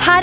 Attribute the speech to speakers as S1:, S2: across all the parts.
S1: her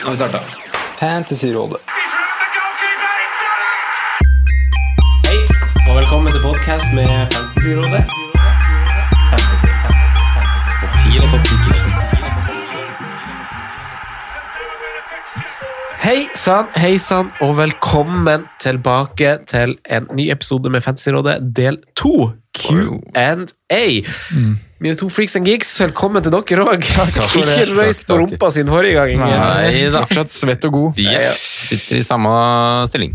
S2: Nå har vi starta. Fantasyrådet.
S3: Hei, og velkommen til podcast med Fantasyrådet.
S2: Topp 10 og topp 10 Hei sann, hei sann, og velkommen tilbake til en ny episode med Fantasyrådet, del 2. Q&A. Mine to freaks and geeks, velkommen til dere òg.
S4: takk for det.
S2: Ikke røyst på
S4: Takk, takk.
S2: rumpa sin forrige gang.
S4: Nei da.
S5: Fortsatt svett og god.
S4: Vi er- sitter i samme stilling.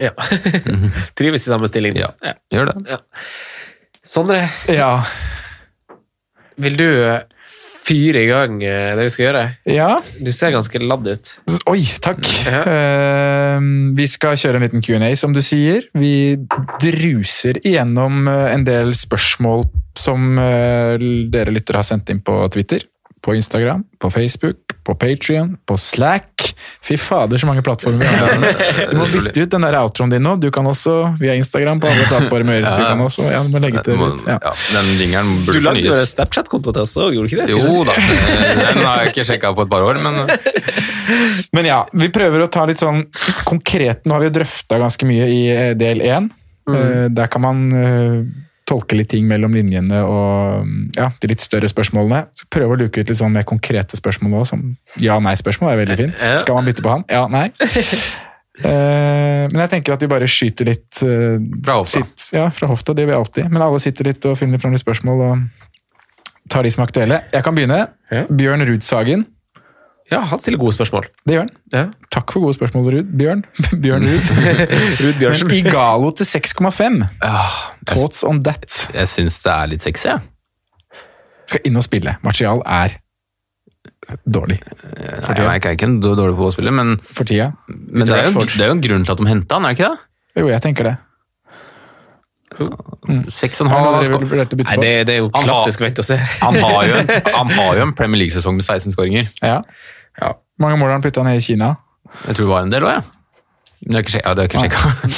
S2: Ja. Trives i samme stilling.
S4: Ja, gjør det.
S2: Sondre,
S5: Ja.
S2: vil du eh, fyre i gang eh, det vi skal gjøre?
S5: ja.
S2: Du ser ganske ladd ut.
S5: Oi, takk.
S2: Ja.
S5: Eh, vi skal kjøre en liten Q&A, som du sier. Vi druser igjennom eh, en del spørsmål som eh, dere lyttere har sendt inn på Twitter, på Instagram, på Facebook, på Patrion, på Slack. Fy fader, så mange plattformer vi har. Du må bytte ut den der outroen din nå. Du kan også via Instagram på alle plattformer. Du kan også, ja, du må legge til
S4: Må-
S5: litt.
S4: Ja,
S5: Ja.
S4: den jingeren
S2: Du
S4: burde
S2: lagde jo en
S4: fornyes.
S2: Snapchat-konto til oss òg, gjorde du ikke det? Sier du?
S4: Jo da, den har jeg ikke sjekka på et par år, men
S5: Men ja, vi prøver å ta litt sånn konkret. Nå har vi jo drøfta ganske mye i eh, del én. Eh, Der kan man eh, tolke litt ting mellom linjene og mm, ja, de litt større spørsmålene. Så Prøve å luke ut litt sånn mer konkrete spørsmål òg, som ja-nei-spørsmål er veldig fint.
S2: Ja.
S5: Skal man bytte på han? Ja, nei. Eh, Men jeg tenker at vi bare skyter litt eh,
S4: Fra hofta.
S5: sitt- ja, fra hofta. Det gjør vi alltid. Men alle sitter litt og finner fram litt spørsmål og tar de som er aktuelle. Jeg kan begynne.
S2: Ja.
S5: Bjørn Rudsagen.
S2: Ja, han stiller gode spørsmål.
S5: Det gjør han.
S2: Ja. Mm.
S5: Takk for gode spørsmål, Ruud. Bjørn. Bjørn Ruud.
S2: Ruud Bjørnsen.
S5: Men Igalo til 6,5.
S4: Ah, jeg,
S5: Thoughts on that.
S4: jeg syns det er litt sexy, jeg.
S5: Skal inn og spille. Martial er dårlig
S2: Eh,
S4: Nei, Jeg er ikke en d- dårlig fotballspiller, men,
S5: for tida.
S4: men det, er jo, det er jo en grunn til at de henta han, er det ikke det?
S5: Jo, jeg tenker det.
S4: Seks og en
S5: Hva
S4: halv
S5: er det dere
S4: sko-
S5: vurderte å bytte
S2: Ah, Nei,
S5: på?
S2: det, det er jo
S4: Han har-
S2: klassisk vent og se.
S4: han har, jo en, han har jo en Premier League-sesong med 16 skåringer.
S5: Ja.
S2: Ja.
S5: Hvor mange mål har han putta ned i Kina?
S4: Jeg tror det var en del òg, jeg. Men jeg har ikke sjek- ja, det har jeg ikke sjekka.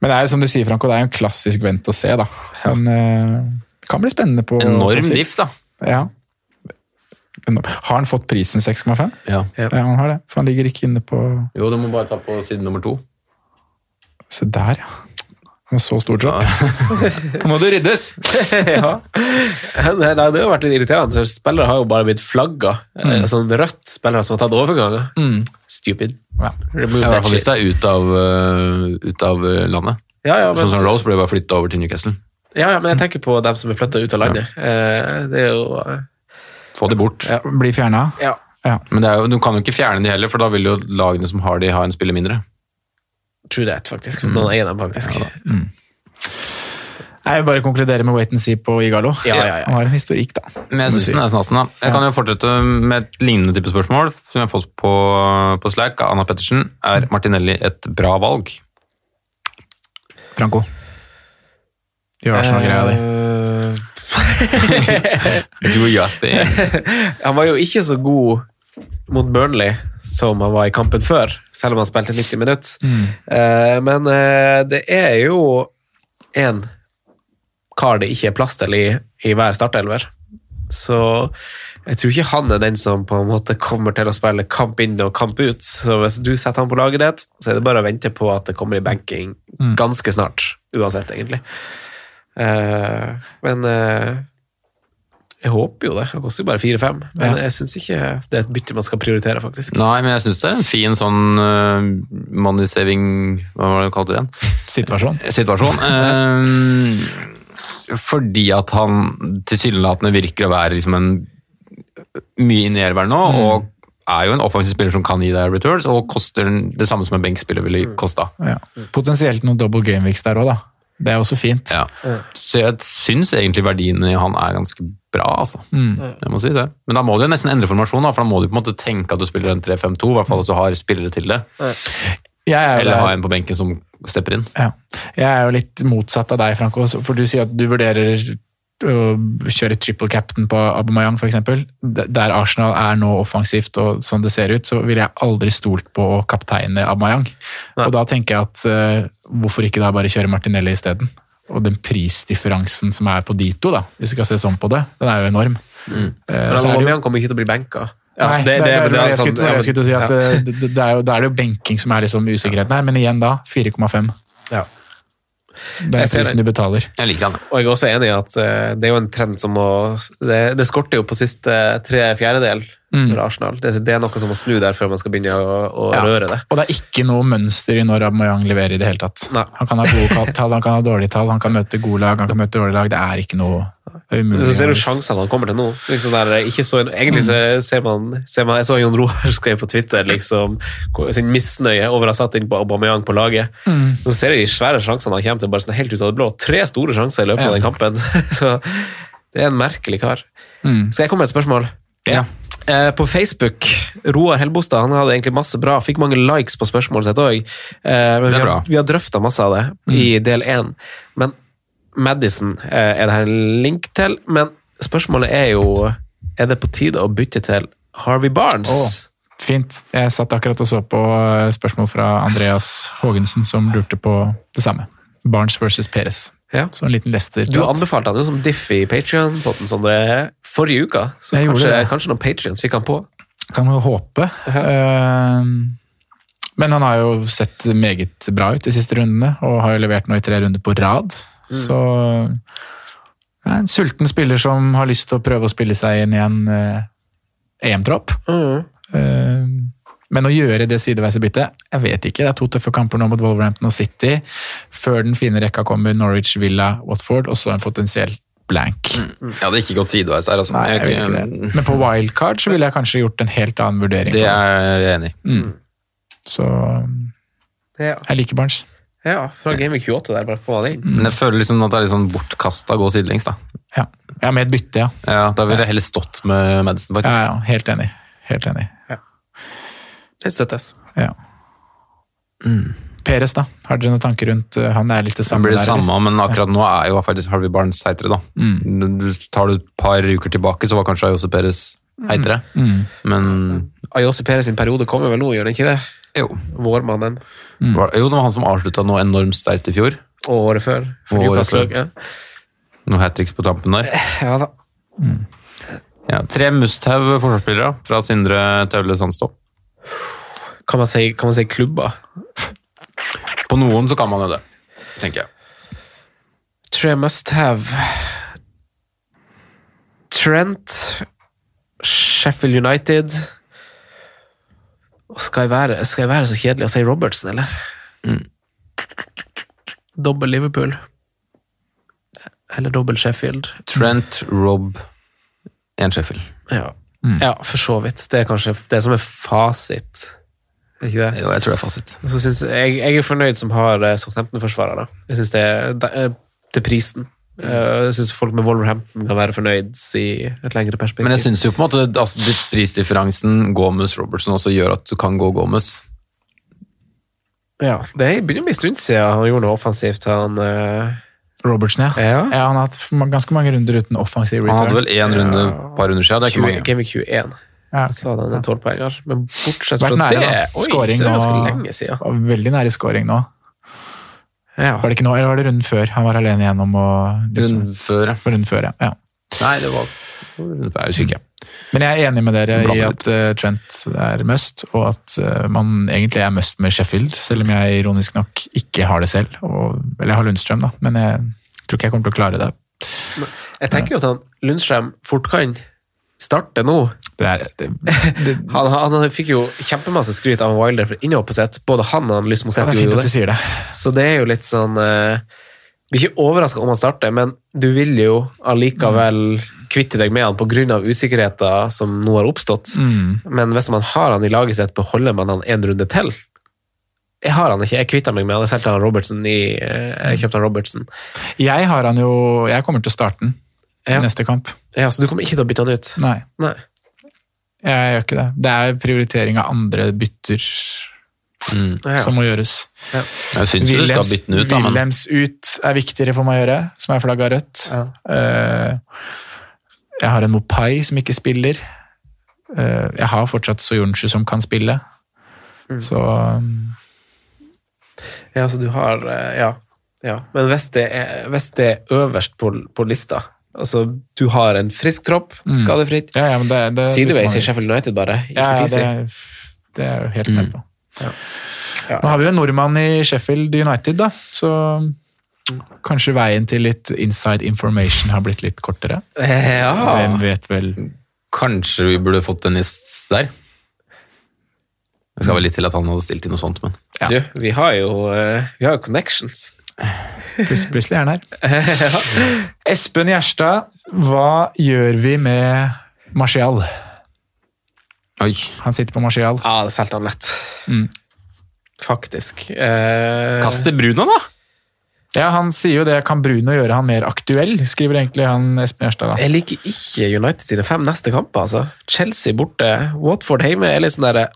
S5: Men det er jo som du sier, Franco, det er jo en klassisk vent å se, da. Men eh, det kan bli spennende på på
S4: Enorm
S5: sikt.
S4: diff, da.
S5: Ja. Enorm. Har han fått prisen 6,5?
S4: Ja.
S5: Ja, han har det. For han ligger ikke inne på
S4: Jo, du må bare ta på side nummer to.
S5: Se der, ja. Han har så stor jobb.
S2: Nå må det ryddes! ja. Nei, nei, det har vært litt irriterende. så Spillere har jo bare blitt flagga. Mm. Sånn rødt spillere som har tatt overganger.
S4: Mm.
S2: Stupid.
S5: Ja.
S2: Remove
S4: Ja, I hvert
S2: that
S4: fall hvis
S2: shit.
S4: det er ut av, øh, ut av øh, landet.
S2: Ja, ja, men,
S4: Sånn som Rose ble bare flytta over til Newcastle.
S2: ja, ja, men jeg tenker på dem som er flytta ut av landet. Eh, Det er jo eh,
S4: Få de bort.
S2: Ja.
S5: Blir fjerna.
S2: ja.
S4: Men det er jo, du kan jo ikke fjerne de heller, for da vil jo lagene som har de, ha en spiller mindre.
S2: True that, faktisk.
S4: Mm.
S2: Hvis noen eier dem, faktisk.
S5: Jeg vil bare konkludere med wait and see på Igalo.
S2: Ja, ja, ja.
S5: Han har en historikk, da.
S4: Men jeg
S5: Som du
S4: synes
S5: sier.
S4: den er snasen, da. Jeg kan jo fortsette med et lignende type spørsmål som jeg har fått på, på Slack av Anna Pettersen. Er Martinelli et bra valg?
S5: Franco. sånn Gjør Arsenal-greia di.
S2: Eh,
S4: Do your thing.
S2: Han var jo ikke så god mot Burnley som han var i kampen før, selv om han spilte 90 minutter. men eh, det er jo en kar det ikke er plass til i, i hver startelver. Så jeg tror ikke han er den som på en måte kommer til å spille kamp inn og kamp ut. Så hvis du setter han på laget ditt, så er det bare å vente på at det kommer i benking ganske snart. Uansett, egentlig. Eh, men eh, Jeg håper jo det. Det koster jo bare 4-5, men eh,
S5: Ja.
S2: jeg syns ikke det er et bytte man skal prioritere, faktisk.
S4: Nei, men jeg syns det er en fin sånn eh, money saving Hva var det du kalte det igjen?
S5: Situasjon.
S4: situasjon. Eh, fordi at han tilsynelatende virker å være liksom en mye i nedværende nå, og er jo en offensiv spiller som kan gi deg returns, og koster den- det samme som en benkspiller ville kosta.
S5: Ja. Potensielt noen double game weeks der òg, da. Det er også fint.
S4: Ja. Så jeg syns egentlig verdien i han er ganske bra, altså. Jeg må si det. Men da må du jo nesten endre formasjon, da, for da må du på en måte tenke at du spiller en 3-5-2, i hvert fall hvis du har spillere til det,
S5: Jeg er jo
S4: eller
S5: der.
S4: ha en på benken som stepper inn.
S5: Ja. Jeg er jo litt motsatt av deg, Franco. For du sier at du vurderer å kjøre triple captain på Aubameyang, f.eks. Der Arsenal er nå offensivt, og sånn det ser ut, så ville jeg aldri stolt på å kapteine Aubameyang. Og da tenker jeg at eh, hvorfor ikke da bare kjøre Martinelli isteden? Og den prisdifferansen som er på de to, da, hvis du skal se sånn på det, den er jo enorm. Eh,
S2: Mm. Men
S5: så er det jo-
S2: Aubameyang kommer ikke til å bli benka. Ja,
S5: Nei, det, det,
S2: det-
S5: er det
S2: det er
S5: jeg
S2: sånn-
S5: skulle
S2: ja,
S5: det var det
S2: men-
S5: jeg skulle til å si. at
S2: ja.
S5: eh, det, det, det er jo, da er det jo benking som er liksom usikkerheten her, men igjen da, 4,5.
S2: Ja.
S5: Det
S2: Jeg
S5: er
S2: ser
S5: prisen du betaler.
S4: Jeg liker han, ja.
S2: Og jeg er også enig i at eh, det er jo en trend som må Det, det skorter jo på siste tre fjerdedel
S5: Mm.
S2: for Arsenal. Det, det er noe som må snu der før man skal begynne å, å
S5: Ja.
S2: røre det.
S5: Og det er ikke noe mønster i når Aubameyang leverer i det hele tatt.
S2: Nei.
S5: Han kan ha gode ka- tall, han kan ha dårlige tall, han kan møte gode lag, han kan møte dårlige lag. Det er ikke noe det er
S2: Men
S5: umulig.
S2: Så ser du
S5: å-
S2: sjansene han kommer til nå. Liksom der, ikke så, egentlig så
S5: Mm.
S2: ser man, ser man Jeg så Jon Roar skrev på Twitter liksom, hvor- sin misnøye over å ha satt inn på Aubameyang på laget.
S5: Mm,
S2: Nå ser jeg de svære sjansene han kommer til, bare sånn helt ut av det blå. Tre store sjanser i løpet av den kampen. Så det er en merkelig kar.
S5: Mm.
S2: Skal jeg komme med et spørsmål?
S5: Ja.
S2: Eh, På Facebook, Roar Helbostad han hadde egentlig masse bra, fikk mange likes på spørsmålet sitt òg. Vi,
S4: Det er
S2: har-
S4: bra. Mm.
S2: vi har drøfta masse av det i del én. Men Madison eh, er det her en link til. Men spørsmålet er jo Er det på tide å bytte til Harvey Barnes?
S5: Åh. Fint. Jeg satt akkurat og så på eh, spørsmål fra Andreas Haagensen, som lurte på det samme. Barnes versus Perez.
S2: Ja.
S5: Så en liten lester.
S2: Du anbefalte han jo som diff i Patrion-potten forrige uke. Så
S5: Jeg gjorde
S2: kanskje,
S5: det.
S2: kanskje noen Patrions fikk han på.
S5: Kan jo håpe. Ehm, Men han har jo sett meget bra ut de siste rundene, og har jo levert nå i tre runder på rad. Så ja, en sulten spiller som har lyst til å prøve å spille seg inn i en eh, EM-tropp. Ehm, men å gjøre det sideveisebyttet, jeg vet ikke. Det er to tøffe kamper nå mot Wolverhampton og City. Før den fine rekka kommer Norwich, Villa, Watford, og så en potensiell blank.
S4: Jeg hadde ikke gått sideveis her, altså.
S5: Mm. Nei, jeg
S4: Jeg-
S5: vil ikke det. Men på wildcard så ville jeg kanskje gjort en helt annen vurdering.
S4: Det
S5: på
S4: er jeg enig i.
S5: Så um,
S2: Ja,
S5: jeg liker Barnes.
S2: ja fra Game Week 28 der, bare få han inn.
S4: Men jeg føler liksom at det er litt sånn bortkasta å gå sidelengs, da.
S5: Ja, ja med et bytte, ja.
S4: Ja, da ville jeg heller stått med Madison,
S5: ja,
S4: faktisk.
S5: ja helt enig. Helt enig.
S2: Det støttes.
S5: Ja.
S2: Mm.
S5: Peres, da? Har dere noen tanker rundt uh, han? Det er litt det
S4: Det
S5: samme.
S4: blir det Mm.
S5: der, eller?
S4: samme, men akkurat nå er jo faktisk Harvey Barnes heitere, da. Du, tar du et par uker tilbake, så var kanskje Ayose Perez heitere. Men
S2: Ayose Perez sin periode kommer vel nå, gjør den ikke det?
S4: jo.
S2: Vårmannen.
S4: Var, jo, det var han som avslutta noe enormt sterkt i fjor.
S2: Og året før. For
S4: Og året
S2: Newcastle,
S4: før.
S2: ja.
S4: Noe hat tricks på tampen der.
S2: ja da.
S4: Ja, tre Musthaug forsvarsspillere fra Sindre Taule Sandstopp.
S2: Kan man si, kan man si klubber?
S4: På noen så kan man jo det, tenker jeg.
S2: Tre must have Trent Sheffield United Og skal jeg være, skal jeg være så kjedelig å si Robertsen, eller?
S5: Mm.
S2: Dobbel Liverpool. Eller dobbel Sheffield.
S4: Trent Rob en Sheffield.
S2: Ja. ja, for så vidt. Det er kanskje det som er fasit. Er Ikke det?
S4: Jo, jeg tror det er fasit.
S2: Så synes jeg, jeg er fornøyd som har eh, Southampton-forsvarere. Jeg synes det er de- eh, til prisen.
S4: Mm.
S2: Eh, Jeg synes folk med Wolverhampton kan være fornøyd i et lengre perspektiv.
S4: Men jeg syns jo på en måte altså, det- prisdifferansen Gomez-Robertson også gjør at du kan gå Gomez.
S2: ja, det begynner å bli en stund siden han gjorde noe offensivt. Han, eh,
S5: Robertsen, ja.
S2: Ja.
S5: Han har hatt ma- ganske mange runder uten offensiv
S4: Han hadde
S5: return.
S4: vel én runde et par runder siden, det er
S2: 20,
S4: ikke mange.
S2: Game Week 21
S5: Ja, ok.
S2: så hadde han en tolvpoenger. Men bortsett fra
S5: Vært nære,
S2: det
S5: da.
S2: Oi, så
S5: Scoring
S2: det er ganske
S5: og-
S2: lenge siden.
S5: Var Veldig nær i scoring nå.
S2: Ja.
S5: Var det ikke nå, eller var det runden før? Han var alene igjennom og liksom,
S4: Runden før, ja.
S5: var runden før, ja. ja.
S4: Nei, det var Jeg er husker ikke.
S5: Men jeg er enig med dere i
S4: Blander
S5: at eh, Trent er must, og at eh, man egentlig er must med Sheffield, selv om jeg ironisk nok ikke har det selv, og, eller jeg har Lundstrøm da, men jeg tror ikke jeg kommer til å klare det
S2: Jeg tenker jo at han Lundstrøm fort kan starte nå. han, han, han fikk jo kjempemasse skryt av Wilder for innhoppet sitt. Både han og han Lys Moseth
S5: Ja, det er fint
S2: gjorde jo
S5: at du sier det.
S2: Så det er jo litt sånn eh, Blir ikke overraska om han starter, men du vil jo allikevel kvitte deg med han pga. usikkerheter som nå har oppstått.
S5: Mm.
S2: Men hvis man har han i laget sitt, beholder man han en runde til. Jeg har han ikke, jeg kvitta meg med han. Jeg solgte han Robertsen i eh, Jeg kjøpte han Robertsen.
S5: Jeg har han jo Jeg kommer til å starte den i
S2: Ja.
S5: neste kamp.
S2: Ja, Så du kommer ikke til å bytte han ut?
S5: Nei,
S2: Nei.
S5: jeg gjør ikke det. Det er prioritering av andre bytter
S4: Mm.
S2: Ja.
S5: som må gjøres.
S4: Jeg syns jo du skal bytte den ut, da, men
S5: Wilhelms ut er viktigere for meg å gjøre, som er flagga rødt. Eh, jeg har en Mopai som ikke spiller. Eh, jeg har fortsatt Soyuncu som kan spille.
S2: Mm.
S5: Så um,
S2: Ja, så du har eh, Ja. ja. Men hvis det, er, hvis det er øverst på, på lista Altså, du har en frisk tropp, skadefritt
S5: Mm. ja, ja, men det, det
S2: Sideways i Sheffield United, bare. Easy
S5: Ja, ja,
S2: peasy.
S5: det, det er jeg jo
S4: Mm.
S5: helt med på.
S2: Ja.
S5: Nå har vi jo en nordmann i Sheffield United, da, så
S2: Mm.
S5: kanskje veien til litt inside information har blitt litt kortere.
S4: Ah.
S5: Hvem
S2: Eh, Ja.
S5: vet vel
S4: kanskje vi burde fått en ist der. Det skal vel litt til at han hadde stilt inn noe sånt, men
S2: Du, vi har jo eh, Vi har jo connections.
S5: Plus- Plutselig er han her. Espen Gjerstad, hva gjør vi med Martial?
S4: Oi.
S5: Han sitter på Martial.
S2: Ja, det solgte han lett.
S5: Mm.
S2: Faktisk. Eh,
S4: Kast til Bruno, da!
S5: Ja, Han sier jo det. Kan Bruno gjøre han mer aktuell? Skriver egentlig han Espen Gjerstad. da.
S2: Jeg liker ikke United sine fem neste kamper. altså. Chelsea borte, Watford hjemme er litt sånn der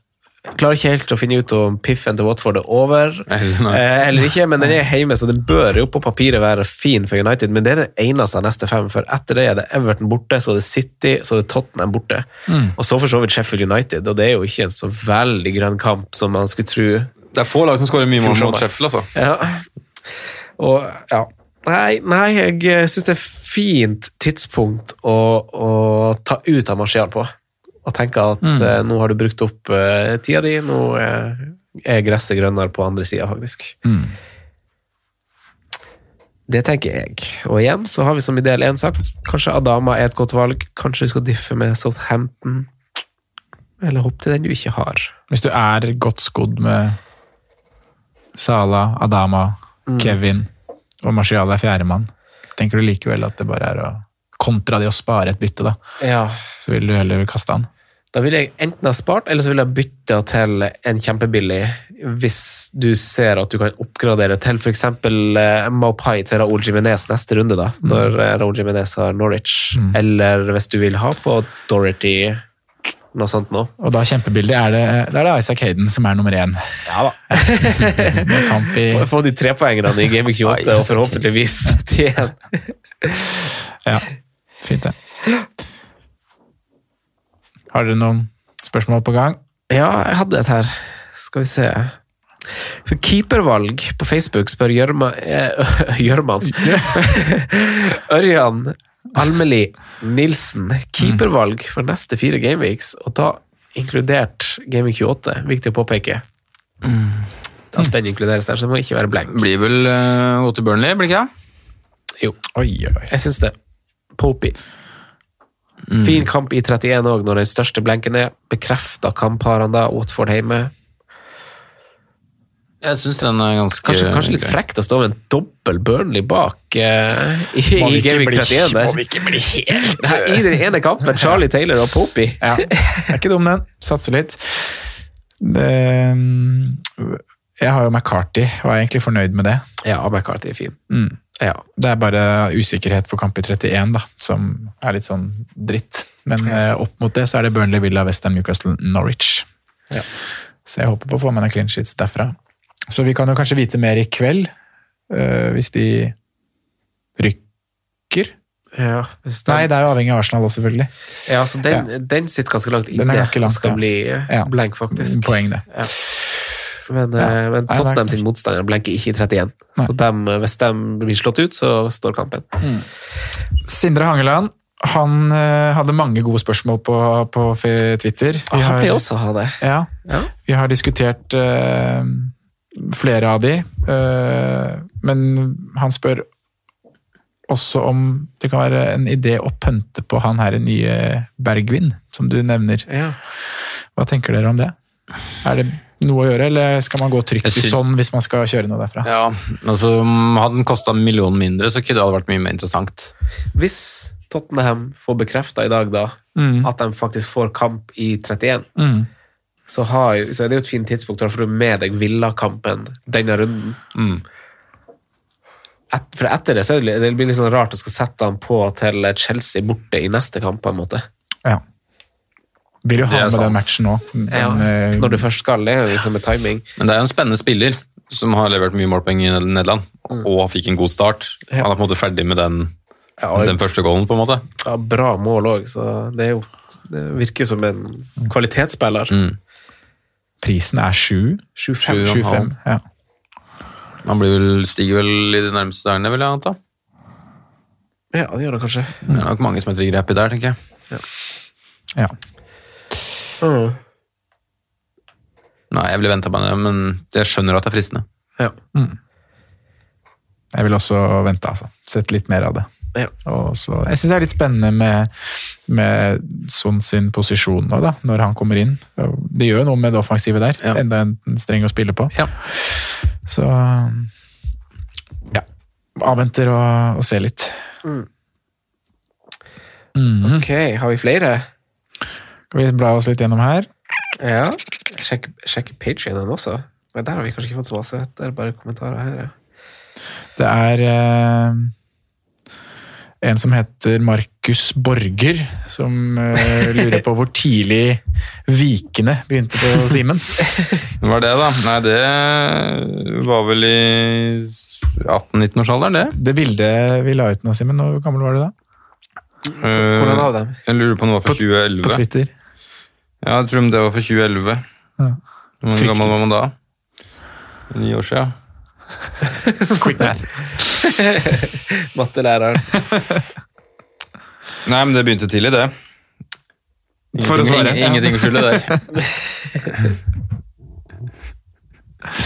S2: Klarer ikke helt å finne ut om piffen til Watford er over
S4: Eller nei.
S2: eh, eller ikke, men den er hjemme, så den bør jo på papiret være fin for United. Men det er det eneste av neste fem, for etter det er det Everton borte, så er det City, så er det Tottenham borte.
S4: Mm.
S2: Og så for så vidt Sheffield United, og det er jo ikke en så veldig grønn kamp som man skulle tro.
S4: Det er få lag som skårer mye mål
S2: Fjordsommer.
S4: mot Sheffield, altså.
S2: Ja. Og ja. Nei, nei jeg syns det er fint tidspunkt å, å ta ut av Martial på. Og tenke at eh, nå har du brukt opp eh, tida di, nå eh, er gresset grønnere på andre sida, faktisk.
S5: Mm.
S2: Det tenker jeg. Og igjen så har vi som i del én sagt, kanskje Adama er et godt valg. Kanskje du skal diffe med Southampton. Eller hopp til den du ikke har.
S5: Hvis du er godt skodd med Sala, Adama, Kevin og Martial er fjerdemann, tenker du likevel at det bare er å kontra det å spare et bytte, da?
S2: Ja,
S5: Så vil du heller kaste han.
S2: Da ville jeg enten ha spart, eller så ville jeg bytta til en kjempebillig, hvis du ser at du kan oppgradere til f.eks. Eh, Maupai til Raúl Jiménez neste runde, da, når eh, Raúl Jiménez har Norwich. Eller hvis du vil ha på Dorothy noe sånt nå.
S5: Og da kjempebildet er det, da er det Isaac Hayden som er nummer én. Ja da. Med kamp i
S2: Få- Få de trepoengerne i Gaming 28, og forhåpentligvis 71.
S5: Ja, fint det. Har dere noen spørsmål på gang?
S2: Ja, jeg hadde et her. Skal vi se. For keepervalg på Facebook spør Gjørma eh, Gjørman Ørjan Almeli Nilsen. Keepervalg for neste fire gameweeks, og da inkludert Gaming 28. Viktig å påpeke. At den inkluderes der, så det må ikke være blank.
S4: Blir vel eh, gå til Burnley, blir ikke det?
S2: Jo,
S5: Oi, oi, oi.
S2: jeg syns det. Popey. Fin kamp i 31 òg, når den største blenken er. Bekrefta kampparene da, Watford hjemme.
S4: Jeg syns den er ganske
S2: Kanskje,
S5: Eh,
S2: kanskje litt
S4: grei.
S2: frekt å stå med en dobbel Burnley bak eh, i,
S5: Må vi
S2: i
S5: ikke
S2: Gaming
S5: bli-
S2: 31 der.
S5: må vi ikke bli helt eh,
S2: Nei, I den ene kampen, Charlie Taylor og Poppy.
S5: Ja, det er ikke dum den. Satser litt. Det, jeg har jo McCarty og er egentlig fornøyd med det.
S2: Ja, McCarthy er fin.
S5: Mm.
S2: Ja.
S5: Det er bare usikkerhet for kamp i 31 da, som er litt sånn dritt. Men eh, opp mot det så er det Burnley, Villa, Western, Newcastle, Norwich.
S2: Ja.
S5: Så jeg håper på å få med noen clean sheets derfra. Så vi kan jo kanskje vite mer i kveld, eh, hvis de rykker.
S2: Ja, hvis den,
S5: Nei, det er jo avhengig av Arsenal også, selvfølgelig.
S2: ja, så den, den sitter ganske langt inne.
S5: Den er ganske langt,
S2: og skal
S5: ja.
S2: bli eh,
S5: Ja. Mm,
S2: blank, faktisk.
S5: Poeng, det.
S2: Men, eh, men
S5: Nei,
S2: Tottenham
S5: det er-
S2: sin motstander blenker ikke i 31. Så dem, eh, hvis de blir slått ut, så står kampen.
S5: Sindre Hangeland, han eh, hadde mange gode spørsmål på, på fe- Twitter. Vi
S2: Ah, han
S5: har-
S2: pleier også å ha det.
S5: Ja.
S2: Ja.
S5: Vi har diskutert eh, flere av de, eh, men han spør også om det kan være en idé å pønte på han her nye Bergvin, som du nevner. Hva tenker dere om det? Er det noe å gjøre, eller skal man gå trygt
S4: Jeg
S5: i
S4: syn-
S5: sånn hvis man skal kjøre noe derfra?
S4: Ja, altså Hadde den kosta en million mindre, så kunne det hadde vært mye mer interessant.
S2: Hvis Tottenham får bekrefta i dag da,
S5: Mm.
S2: at de faktisk får kamp i 31,
S5: Mm.
S2: så, har, jo- så er det jo et fint tidspunkt da, for du med deg Villa-kampen denne runden.
S4: Mm.
S2: Et, for etter det så er det, det blir litt sånn rart å skal sette han på til Chelsea borte i neste kamp, på en måte.
S5: Ja. Vil jo
S4: Det
S5: ha
S4: er
S5: med den
S4: sant.
S5: matchen nå.
S2: Ja,
S5: Den, eh,
S2: når du først skal, det er jo liksom med timing.
S4: Men det er jo en spennende spiller som har levert mye målpoeng i Nederland, og fikk en god start. Han er på en måte ferdig med den,
S2: Ja, og-
S4: den første goalen, på en måte.
S2: ja, bra mål òg, så det, er jo, det virker som en kvalitetsspiller.
S4: Mm.
S5: Prisen er sju.
S2: 7-5.
S5: 7-5. Ja.
S4: Han blir vel, stiger vel i de nærmeste dagene, vil jeg anta.
S2: Ja, det gjør han kanskje.
S4: Det er nok mange som heter Greppi der, tenker jeg.
S5: ja.
S2: Mm.
S4: Nei, jeg ville venta meg det, men jeg skjønner at det er fristende.
S2: Ja.
S5: Jeg vil også vente, altså. Sett litt mer av det.
S2: Ja.
S5: Og så, jeg syns det er litt spennende med, med Son sin posisjon nå, da, når han kommer inn. Det gjør jo noe med det offensive der.
S4: Ja.
S5: Enda en streng å spille på.
S4: Ja.
S5: Så ja. Avventer og, og ser litt.
S4: Mm.
S5: Mhm.
S2: Ok, har vi flere?
S5: Skal vi bla oss litt gjennom her?
S2: Ja. Sjekk, sjekk pagen den også. Men der har vi kanskje ikke fått så masse. Det er bare kommentarer her. Ja.
S5: Det er eh, en som heter Markus Borger, som eh, lurer på hvor tidlig Vikene begynte på Simen.
S4: Hva er det, da? Nei, det var vel i 18-19-årsalderen, det.
S5: Det bildet vi la ut nå, Simen, hvor gammel var du da?
S4: Eh,
S2: Hvordan av dem?
S4: Jeg lurer på om det var for
S5: På
S4: 2011.
S5: Twitter.
S4: Ja, jeg tror om det var for 2011.
S5: Ja.
S4: Hvor mange gammel var man da? Ni år siden.
S5: Quick math.
S2: Mattelæreren.
S4: Nei, men det begynte tidlig, det. Ingenting,
S5: For å svare,
S4: ing-
S5: ja.
S4: Ingenting å skylde der.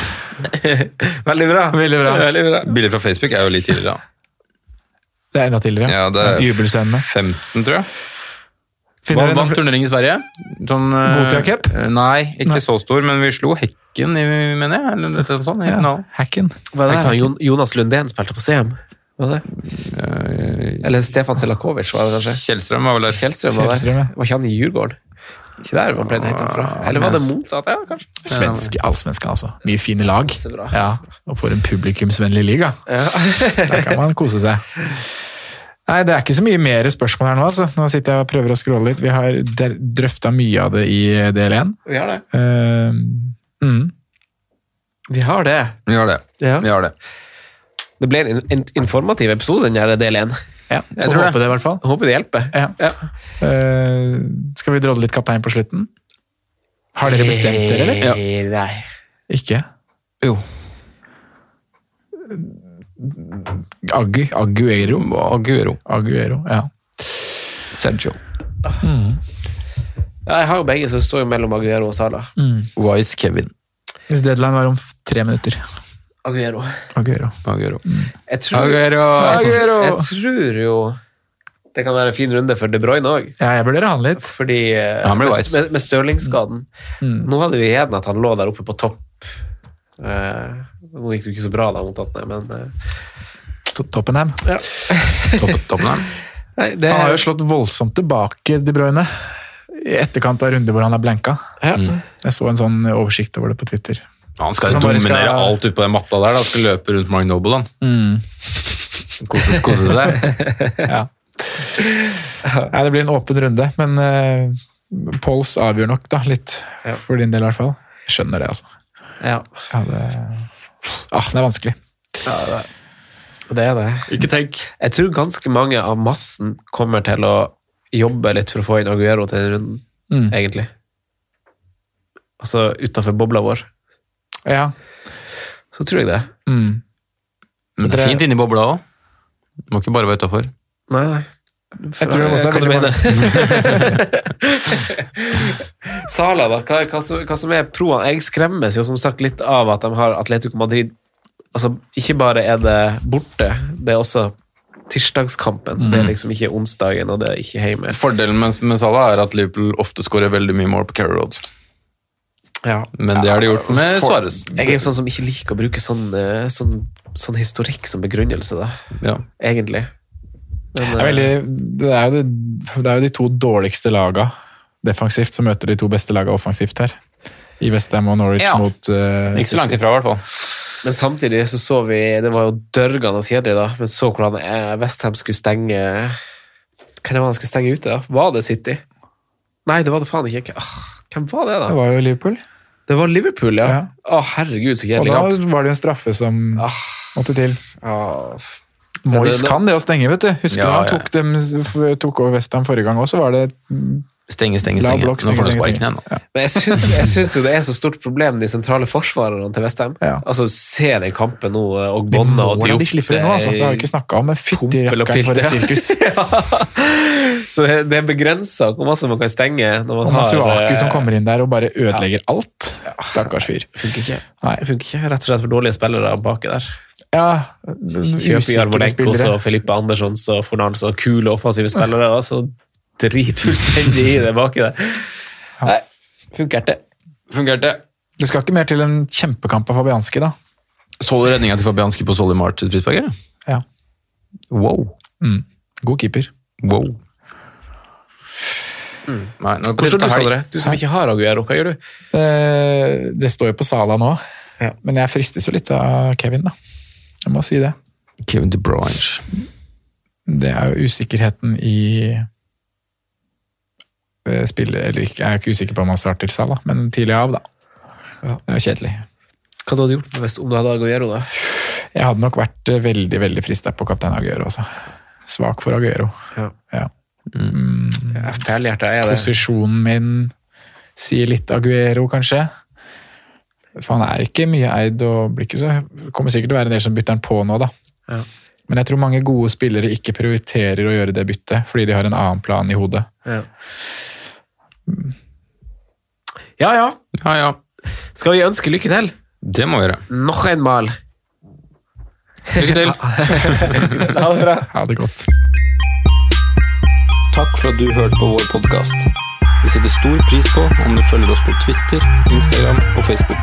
S2: Veldig bra.
S5: Veldig bra.
S2: Veldig bra.
S4: Bilder fra Facebook er jo litt tidligere. da.
S5: Det er enda tidligere.
S4: Ja, det er
S5: Jubelscenene.
S4: 15, tror jeg.
S5: Finner
S4: Vant
S5: en
S4: vant turnering i Sverige. Sånn, eh,
S5: Gotia Cup?
S4: eh, Nei, ikke
S5: Nei.
S4: så stor, men vi slo Hekken, i- mener jeg. Eller noe sånt, i
S5: ja,
S4: finalen.
S5: hacken.
S2: Hva er det her? Jon, Jonas Lundén spilte på CM? Var det? Eller Stefan Selakovic, var det kanskje?
S4: Kjellstrøm var vel der.
S2: Kjellstrøm var der.
S5: Kjellstrøm, ja.
S2: Var ikke han i Djurgården? Ikke der man pleide å hente ham fra? Eller var det motsatt? Ja, kanskje.
S5: Svensk, allsvenske, altså. Mye fine lag.
S2: Så bra.
S5: Ja, og for en publikumsvennlig liga.
S2: Ja.
S5: Der kan man kose seg. Nei, Det er ikke så mye mer spørsmål her nå. altså. Nå sitter jeg og prøver å scrolle litt. Vi har drøfta mye av det i del én.
S2: Vi har det.
S5: Eh, mm.
S2: Vi har det.
S4: Vi har det.
S2: Ja.
S4: Vi har det.
S2: Det ble en in- informativ episode, den her del én.
S5: Ja, jeg
S2: tror det.
S5: håper det, i hvert fall.
S2: Håper det hjelper.
S5: Ja. Eh, skal vi drodle litt kaptein på slutten? Har dere bestemt dere, eller?
S2: Eh, Nei.
S5: Ikke?
S4: Jo.
S5: Agu, Aguero?
S4: Aguero.
S5: Aguero, ja.
S4: Sergio.
S2: Ja, Jeg har jo begge som står jo mellom Aguero og Sala.
S4: Wise Kevin.
S5: Mm. Hvis deadline var om f- tre minutter.
S2: Aguero.
S5: Aguero.
S4: Aguero.
S2: Jeg tror,
S4: Aguero.
S5: Aguero!
S2: Jeg tror jo det kan være en fin runde for De Bruyne òg.
S5: Ja, jeg vurderer han Mm. litt.
S2: Fordi eh,
S4: han ble
S2: med,
S4: wise.
S2: med, med Stirling-skaden Nå hadde vi igjen at han lå der oppe på topp. Eh, nå gikk det jo ikke så bra da mot Tottenham, men eh,
S5: To- Toppenham.
S4: Topp- Tottenham.
S2: nei,
S4: Eh.
S2: det,
S5: Han har jo slått voldsomt tilbake, De Bruyne. I etterkant av runder hvor han er blanka.
S2: Ja.
S5: Jeg så en sånn oversikt over det på Twitter.
S4: Han skal
S5: Så han bare
S4: dominere
S5: skal-
S4: alt ute på den matta der. Da. Skal løpe rundt Mark Noble, han. Kose, kose seg.
S5: Nei, det blir en åpen runde, men eh, Pols avgjør nok da, litt.
S2: Ja.
S5: For din del i hvert fall. Jeg skjønner det, altså.
S2: ja,
S5: Ja, det, ah, det er vanskelig.
S2: det er det.
S4: Ikke tenk.
S2: Jeg tror ganske mange av massen kommer til å jobbe litt for å få inn Aguero til den runden,
S5: Mm.
S2: egentlig. Altså utafor bobla vår.
S5: Ja.
S2: Så tror jeg det.
S5: Mm.
S4: Men det er fint inni bobla òg. Må ikke bare være utafor.
S2: Nei, nei.
S5: Jeg tror også
S2: hva
S5: det er
S2: du
S5: veldig
S2: mener. Sala, da. Hva, hva, som, hva som er proene? Jeg skremmes jo som sagt litt av at de har Atletico Madrid Altså, ikke bare er det borte, det er også tirsdagskampen. Det er liksom ikke onsdagen, og det er ikke hjemme.
S6: Fordelen med, med Salah er at Liverpool ofte skårer veldig mye mål på Carrow Road. Men det har de gjort med
S2: For-
S6: Suarez.
S2: Jeg er jo sånn som ikke liker å bruke sånn, eh, sånn, sånn historikk som begrunnelse, da. Egentlig. Men,
S5: Det er, veldig, det, er jo de, det er jo de to dårligste laga defensivt som møter de to beste laga offensivt her. I Westham og Norwich
S2: Ja.
S5: mot eh,
S2: Ikke så langt
S5: City.
S2: ifra, i hvert fall. Men samtidig så så vi Det var jo dørgende kjedelig, da. Men så hvordan eh, Westham skulle stenge Hvem var det han skulle stenge ute, da? Var det City? Nei, det var det faen ikke. Ah, hvem var det, da?
S5: Det var jo Liverpool.
S2: Det var Liverpool, ja. Å, herregud, så
S5: Og
S2: kjedelig
S5: da
S2: kamp. Ah.
S5: var det jo en straffe som måtte til.
S2: Men det-
S5: Moyes
S2: det-
S5: kan det å stenge, vet du. Husker du
S4: Ja,
S5: han
S4: ja.
S5: tok, dem, f- tok over Westham forrige gang òg, så var det
S4: Stenge, stenge,
S5: La
S4: stenge. Nå
S5: blokk, stenge,
S4: får du
S5: stenge,
S4: sparken igjen.
S5: stenge.
S4: da.
S2: Men jeg syns, jeg syns jo det er så stort problem, de sentrale forsvarerne til Westham. Altså, se den kampen nå, eh, og bånda og
S5: Hvordan de slipper det nå, altså. Det har vi ikke snakka om, men fytti
S2: Pumpel og
S5: rakkeren for et
S2: pilt,
S5: sirkus.
S2: Så det, det er begrensa hvor masse man kan stenge når
S5: Og
S2: man har
S5: Masuaku som
S2: eh,
S5: kommer inn der og bare ødelegger alt. Stakkars fyr.
S2: Funker ikke. Det funker ikke. Rett og slett for dårlige spillere baki der.
S5: Ja,
S2: Kjøper
S5: usikre
S2: Jarmolenko
S5: spillere.
S2: og Filippe Andersson og Fornals og kule offensive spillere, og så drit fullstendig i det baki der. Nei, funkerte.
S4: Fungerte.
S5: Det skal ikke mer til en kjempekamp av Fabianski, da.
S4: Så du redninga til Fabianski på Solly March sitt frispark? eller?
S5: Ja.
S4: Wow.
S5: Mm. God keeper.
S4: Wow. Mm. Nei, nå
S2: Hvor står du, Sondre? Du som ikke har Aguero, hva gjør du?
S5: Eh, Det står jo på Sala nå, men jeg fristes jo litt av Kevin, da. Jeg må si det.
S4: Kevin De Bruyne.
S5: Det er jo usikkerheten i eh, spillet, eller ikke. Jeg er ikke usikker på om han starter Sala, men tidlig av, da. Det er jo kjedelig.
S2: Hva du hadde gjort hvis, om du hadde Aguero, da?
S5: Jeg hadde nok vært eh, veldig veldig frista på kaptein Aguero. Altså. Svak for Aguero.
S2: Ja.
S5: Mm.
S2: Fællhjerta er det.
S5: Posisjonen min sier litt Aguero, kanskje. For han er ikke mye eid og blir ikke så Kommer sikkert til å være en del som bytter han på nå, da.
S2: Ja.
S5: Men jeg tror mange gode spillere ikke prioriterer å gjøre det byttet, fordi de har en annen plan i hodet.
S2: Ja. ja ja.
S4: Ja, ja.
S2: Skal vi ønske lykke til?
S4: Det må vi gjøre.
S2: Noch en mal.
S4: Lykke til.
S2: Ha det bra.
S5: Ha det godt.
S7: Takk for at du hørte på vår podkast. Vi setter stor pris på om du følger oss på Twitter, Instagram og Facebook.